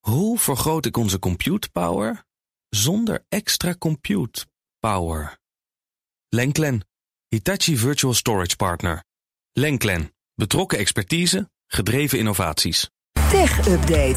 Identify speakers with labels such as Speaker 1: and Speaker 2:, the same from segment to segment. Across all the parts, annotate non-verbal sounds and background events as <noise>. Speaker 1: hoe vergroot ik onze compute power zonder extra compute power? Lenklen, Hitachi Virtual Storage Partner. Lenklen, betrokken expertise, gedreven innovaties.
Speaker 2: Tech Update.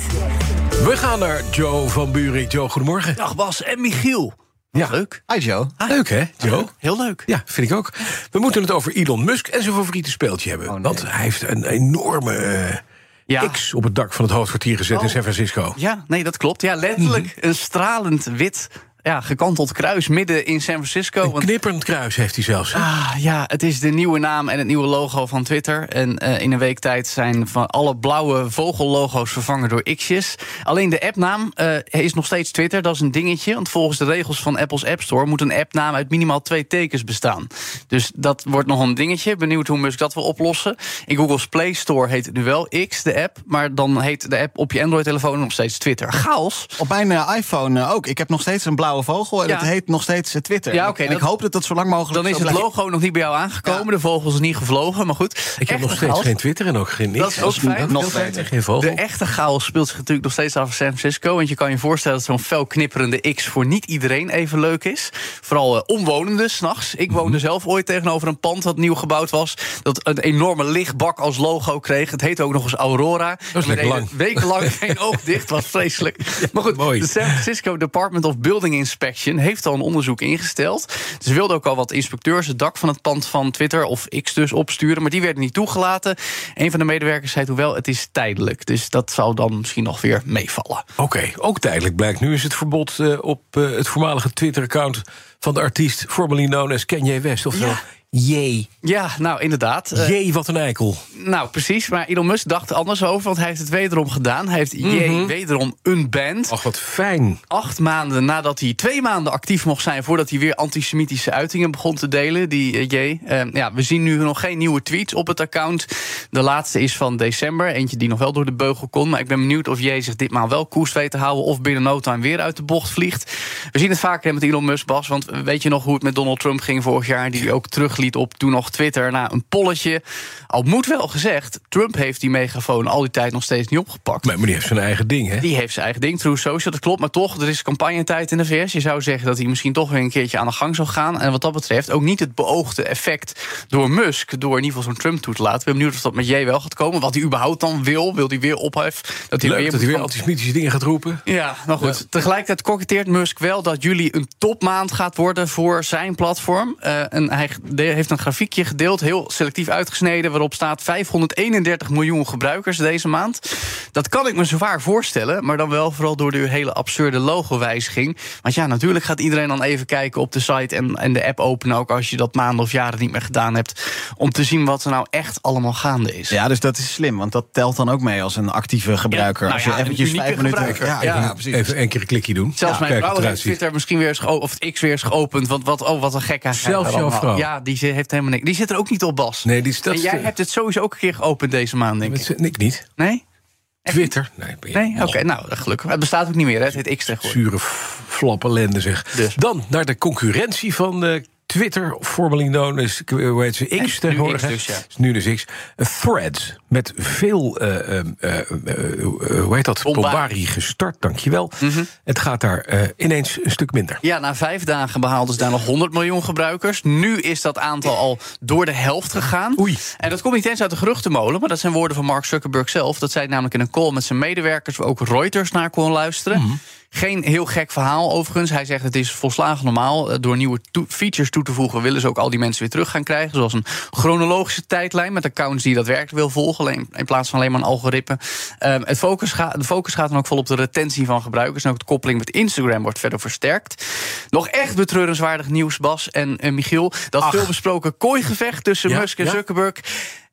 Speaker 3: We gaan naar Joe van Buren. Joe, goedemorgen.
Speaker 4: Dag Bas en Michiel.
Speaker 3: Ja.
Speaker 4: Leuk. Ah,
Speaker 5: Hi Joe.
Speaker 3: Leuk hè, Joe?
Speaker 4: Heel leuk.
Speaker 3: Ja, vind ik ook. We moeten het over Elon Musk en zijn favoriete speeltje hebben.
Speaker 5: nee.
Speaker 3: Want hij heeft een enorme eh,
Speaker 4: Oh, Ja.
Speaker 3: X op het dak van het hoofdkwartier gezet in
Speaker 4: Oh.
Speaker 3: San Francisco.
Speaker 4: Ja, nee, dat klopt. Ja, letterlijk een stralend wit ja, gekanteld kruis midden in San Francisco.
Speaker 3: Een
Speaker 4: Want,
Speaker 3: knipperend kruis heeft hij zelfs. hè?
Speaker 4: ah, ja, het is de nieuwe naam en het nieuwe logo van Twitter. En eh, in een week tijd zijn van alle blauwe vogellogo's vervangen door X'jes. Alleen de appnaam eh, is nog steeds Twitter. Dat is een dingetje. Want volgens de regels van Apple's App Store moet een appnaam uit minimaal twee tekens bestaan. Dus dat wordt nog een dingetje. Benieuwd hoe Musk dat wil oplossen. In Google's Play Store heet het nu wel X, de app. Maar dan heet de app op je Android-telefoon nog steeds Twitter. Chaos.
Speaker 5: Op mijn eh, iPhone eh, ook. Ik heb nog steeds een blauwe vogel en
Speaker 4: Ja.
Speaker 5: het heet nog steeds eh, Twitter.
Speaker 4: Ja,
Speaker 5: En-
Speaker 4: oké,
Speaker 5: en
Speaker 4: dat-
Speaker 5: ik hoop dat dat zo lang mogelijk
Speaker 4: Dan is
Speaker 5: zo
Speaker 4: het
Speaker 5: blijft.
Speaker 4: logo nog niet bij jou aangekomen.
Speaker 5: Ja.
Speaker 4: De vogel is niet gevlogen, maar goed.
Speaker 3: Ik heb
Speaker 4: Echte
Speaker 3: nog steeds
Speaker 4: chaos.
Speaker 3: geen Twitter en ook geen niks.
Speaker 4: Dat is ook fijn.
Speaker 3: Dat
Speaker 5: Nog
Speaker 3: is fijn.
Speaker 5: beter.
Speaker 3: Geen vogel.
Speaker 4: De echte chaos speelt zich natuurlijk nog steeds af in San Francisco. Want je kan je voorstellen dat zo'n fel knipperende X voor niet iedereen even leuk is. Vooral eh, omwonenden s'nachts. Ik woonde
Speaker 3: Mhm.
Speaker 4: zelf ooit tegenover een pand dat nieuw gebouwd was. Dat een enorme lichtbak als logo kreeg. Het heette ook nog eens Aurora. En we
Speaker 3: lekker
Speaker 4: deden
Speaker 3: lang.
Speaker 4: Wekenlang <laughs> geen oog dicht. was
Speaker 3: <laughs>
Speaker 4: vreselijk. Maar goed,
Speaker 3: mooi.
Speaker 4: de San Francisco Department of Building Inspection heeft al een onderzoek ingesteld. Ze wilden ook al wat inspecteurs het dak van het pand van Twitter of X dus opsturen, maar die werden niet toegelaten. Een van de medewerkers zei hoewel, het is tijdelijk. Dus dat zou dan misschien nog weer meevallen.
Speaker 3: Oké, ook tijdelijk blijkt. Nu is het verbod eh, op eh, het voormalige Twitter-account van de artiest, formerly known as Kanye West. Oftewel, jee.
Speaker 4: Ja, nou inderdaad. Eh,
Speaker 3: Jee, wat een eikel.
Speaker 4: nou, precies. Maar Elon Musk dacht anders over, want hij heeft het wederom gedaan. Hij heeft J wederom unbanned.
Speaker 3: Ach, wat fijn.
Speaker 4: acht maanden nadat hij twee maanden actief mocht zijn... voordat hij weer antisemitische uitingen begon te delen, die eh, J. Eh, ja, we zien nu nog geen nieuwe tweets op het account. De laatste is van december, eentje die nog wel door de beugel kon. Maar ik ben benieuwd of J zich ditmaal wel koers weet te houden... of binnen no time weer uit de bocht vliegt. We zien het vaker met Elon Musk, Bas. Want weet je nog hoe het met Donald Trump ging vorig jaar... die hij ook terugliet op toen nog Twitter na een polletje. Al moet wel gezegd, Trump heeft die megafoon al die tijd nog steeds niet opgepakt.
Speaker 3: Mijn meneer heeft zijn eigen ding, hè?
Speaker 4: Die heeft zijn eigen ding, True Social, dat klopt. Maar toch, er is campagnetijd in de VS. Je zou zeggen dat hij misschien toch weer een keertje aan de gang zou gaan. En wat dat betreft ook niet het beoogde effect door Musk... door in ieder geval zo'n Trump toe te laten. Ik ben benieuwd of dat met J wel gaat komen. Wat hij überhaupt dan wil. Wil hij weer ophef? Dat
Speaker 3: Leuk dat
Speaker 4: moet
Speaker 3: hij weer
Speaker 4: gaan-
Speaker 3: antisemitische dingen gaat roepen.
Speaker 4: ja, nou goed. Tegelijkertijd koketteert Musk wel dat juli een topmaand gaat worden voor zijn platform. Eh, en hij g- de- heeft een grafiekje gedeeld, heel selectief uitgesneden, waarop staat 531 miljoen gebruikers deze maand. Dat kan ik me zwaar voorstellen, maar dan wel vooral door de hele absurde logo-wijziging. Want ja, natuurlijk gaat iedereen dan even kijken op de site en, en de app openen, ook als je dat maanden of jaren niet meer gedaan hebt, om te zien wat er nou echt allemaal gaande is.
Speaker 5: Ja, dus dat is slim, want dat telt dan ook mee als een actieve gebruiker.
Speaker 4: nou
Speaker 5: als je
Speaker 4: ja, een
Speaker 5: eventjes
Speaker 4: unieke
Speaker 5: vijf minuten...
Speaker 4: gebruiker.
Speaker 5: Ja,
Speaker 4: Ja.
Speaker 5: ja, precies.
Speaker 3: Even één keer een klikje doen.
Speaker 4: Zelfs mijn
Speaker 3: Kijk
Speaker 4: vrouw
Speaker 3: wat
Speaker 4: heeft
Speaker 3: eruit ziet.
Speaker 4: Twitter misschien weer eens geopend. Of het X weer eens geopend. Want wat, oh, wat een gekke
Speaker 3: Zelfs jouw vrouw?
Speaker 4: Ja, die ze- heeft helemaal niks. Die zit er ook niet op, Bas.
Speaker 3: Nee, die staat
Speaker 4: en jij hebt het sowieso ook een keer geopend deze maand, denk
Speaker 3: eh, Met
Speaker 4: ik.
Speaker 3: z'n- ik niet.
Speaker 4: Nee?
Speaker 3: Twitter? Nee, ben je-
Speaker 4: Nee? Oké, nou, gelukkig. Het bestaat ook niet meer, hè? Het heet X
Speaker 3: Och,
Speaker 4: tegenwoordig.
Speaker 3: Zure f- flap ellende zeg.
Speaker 4: Dus.
Speaker 3: Dan naar de concurrentie van eh, Twitter, formerly known as eh, hoe heet ze, X tegenwoordig.
Speaker 4: X
Speaker 3: hè?
Speaker 4: dus, ja.
Speaker 3: Is Nu dus X. Eh, Threads, met veel, eh, eh, eh, eh, hoe heet dat,
Speaker 4: Bombari.
Speaker 3: bombarie gestart, dankjewel.
Speaker 4: Mhm.
Speaker 3: Het gaat daar eh, ineens een stuk minder.
Speaker 4: Ja, na vijf dagen behaalden ze daar nog 100 miljoen gebruikers. Nu is dat aantal al door de helft gegaan.
Speaker 3: Oei.
Speaker 4: En dat komt niet eens uit de geruchtenmolen, maar dat zijn woorden van Mark Zuckerberg zelf. Dat zei hij namelijk in een call met zijn medewerkers, waar ook Reuters naar kon luisteren. Geen heel gek verhaal overigens. Hij zegt het is volslagen normaal. Eh, Door nieuwe toe- features toe te voegen willen ze ook al die mensen weer terug gaan krijgen. Zoals een chronologische tijdlijn met accounts die daadwerkelijk wil volgen. alleen- In plaats van alleen maar een algoritme. Ehm, het focus ga- de focus gaat dan ook vol op de retentie van gebruikers. En ook de koppeling met Instagram wordt verder versterkt. Nog echt betreurenswaardig nieuws, Bas en, eh, Michiel. Dat veelbesproken kooigevecht tussen
Speaker 3: Ja,
Speaker 4: Musk en
Speaker 3: ja.
Speaker 4: Zuckerberg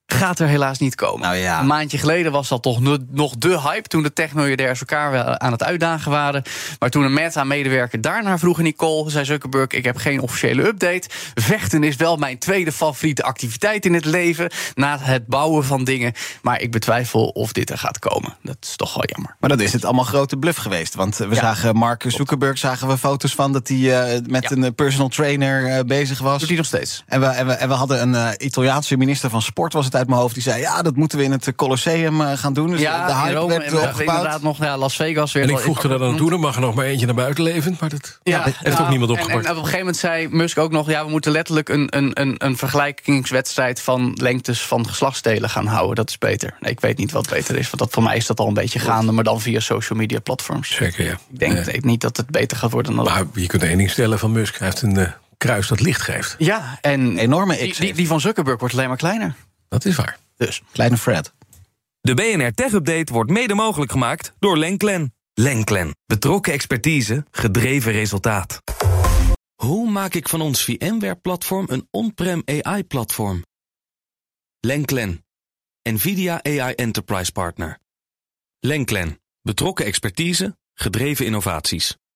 Speaker 4: gaat er helaas niet komen.
Speaker 5: Nou ja.
Speaker 4: Een maandje geleden was dat toch nu- nog de hype... toen de techmiljardairs elkaar wel aan het uitdagen waren. Maar toen een Meta-medewerker daarna vroeg in die call... zei Zuckerberg, ik heb geen officiële update. Vechten is wel mijn tweede favoriete activiteit in het leven... na het bouwen van dingen. Maar ik betwijfel of dit er gaat komen. Dat is toch wel jammer.
Speaker 5: Maar dat is het allemaal grote bluff geweest. Want eh, we
Speaker 4: Ja.
Speaker 5: zagen Mark Zuckerberg zagen we foto's van dat hij eh, met
Speaker 4: Ja.
Speaker 5: een eh, personal trainer eh, bezig was.
Speaker 4: Doet hij nog steeds?
Speaker 5: En we, en, we, en we hadden een eh, Italiaanse minister van Sport, was het gast uit mijn hoofd die zei: Ja, dat moeten we in het Colosseum eh, gaan doen. Dus
Speaker 4: ja,
Speaker 5: de
Speaker 4: in
Speaker 5: hype
Speaker 4: Rome
Speaker 5: werd
Speaker 4: inderdaad-
Speaker 5: opgebouwd.
Speaker 4: inderdaad nog ja, Las Vegas weer.
Speaker 3: En ik
Speaker 4: wel-
Speaker 3: voegde er dan toe, er mag er nog maar eentje naar buiten levend. Maar dat heeft toch niemand
Speaker 4: en-
Speaker 3: opgepakt.
Speaker 4: En, op een gegeven moment zei Musk ook nog: ja, we moeten letterlijk een, een, een, een vergelijkingswedstrijd van lengtes van geslachtsdelen gaan houden. Dat is beter. Nee, ik weet niet wat beter is, want dat, voor mij is dat al een beetje gaande, maar dan via social media platforms.
Speaker 3: Zeker, ja.
Speaker 4: Ik denk eh, niet dat het beter gaat worden dan dat.
Speaker 3: Maar je kunt één ding stellen van Musk. Hij heeft een eh, kruis dat licht geeft.
Speaker 4: Ja, en
Speaker 5: Enorme
Speaker 4: die,
Speaker 5: X.
Speaker 4: die, die van Zuckerberg wordt alleen maar kleiner.
Speaker 3: Dat is waar.
Speaker 4: Dus.
Speaker 5: Kleine Fred.
Speaker 1: De BNR Tech Update wordt mede mogelijk gemaakt door Lenklen. Lenklen. Betrokken expertise, gedreven resultaat. Hoe maak ik van ons VMware-platform een on-prem AI-platform? Lenklen. NVIDIA AI Enterprise Partner. Lenklen. Betrokken expertise, gedreven innovaties.